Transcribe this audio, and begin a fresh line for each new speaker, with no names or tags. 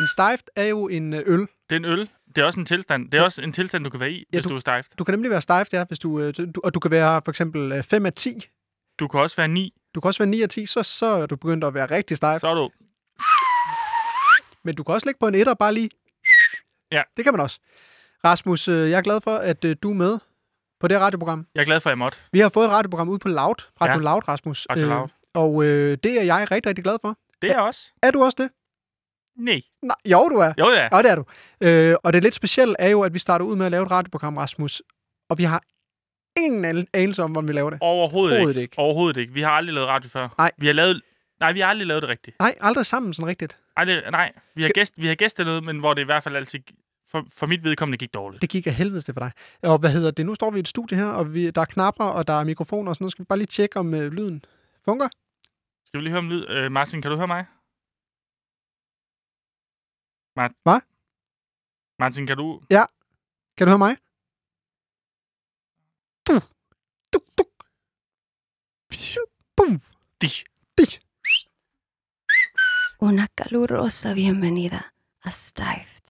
en stejft er jo en øh, øl.
Det er en øl. Det er også en tilstand. Det er også en tilstand, du kan være i, ja, hvis
du-
du, du er stejft.
Du kan nemlig være stejft, ja, hvis du, øh, du, og du kan være for eksempel 5 af 10.
Du kan også være 9.
Du kan også være 9 af 10, så, så er du begyndt at være rigtig stejft.
Så er du...
Men du kan også ligge på en etter bare lige.
Ja.
Det kan man også. Rasmus, øh, jeg er glad for, at øh, du er med på det her radioprogram.
Jeg er glad for, at jeg måtte.
Vi har fået et radioprogram ude på Loud. Radio ja.
Ja.
Loud, Rasmus.
Radio Loud.
Og øh, det er jeg rigtig, rigtig glad for.
Det er jeg også.
Er du også det?
Nej.
Nej, jo, du er.
Jo ja.
Ja, det er du. Øh, og det lidt specielle er jo, at vi starter ud med at lave et radioprogram, Rasmus. Og vi har ingen an- anelse om, hvordan vi laver det.
Overhovedet ikke.
Overhovedet ikke.
Overhovedet ikke. Vi har aldrig lavet radio før.
Nej.
Vi har lavet... Nej, vi har aldrig lavet det rigtigt.
Nej, aldrig sammen sådan rigtigt.
Aldrig... Nej. Vi har,
Skal-
gæst... vi har gæstet noget, men hvor det i hvert fald altid... For, for mit vedkommende gik dårligt.
Det gik af helvedes det for dig. Og hvad hedder det? Nu står vi i et studie her, og vi, der er knapper, og der er mikrofoner og sådan noget. Skal vi bare lige tjekke, om øh, lyden fungerer?
Skal vi lige høre om lyd? Øh, Martin, kan du høre mig? Mart...
Hvad?
Martin, kan du...
Kan du høre mig? Du, du, du. Bum.
De.
Una calurosa bienvenida a Stift.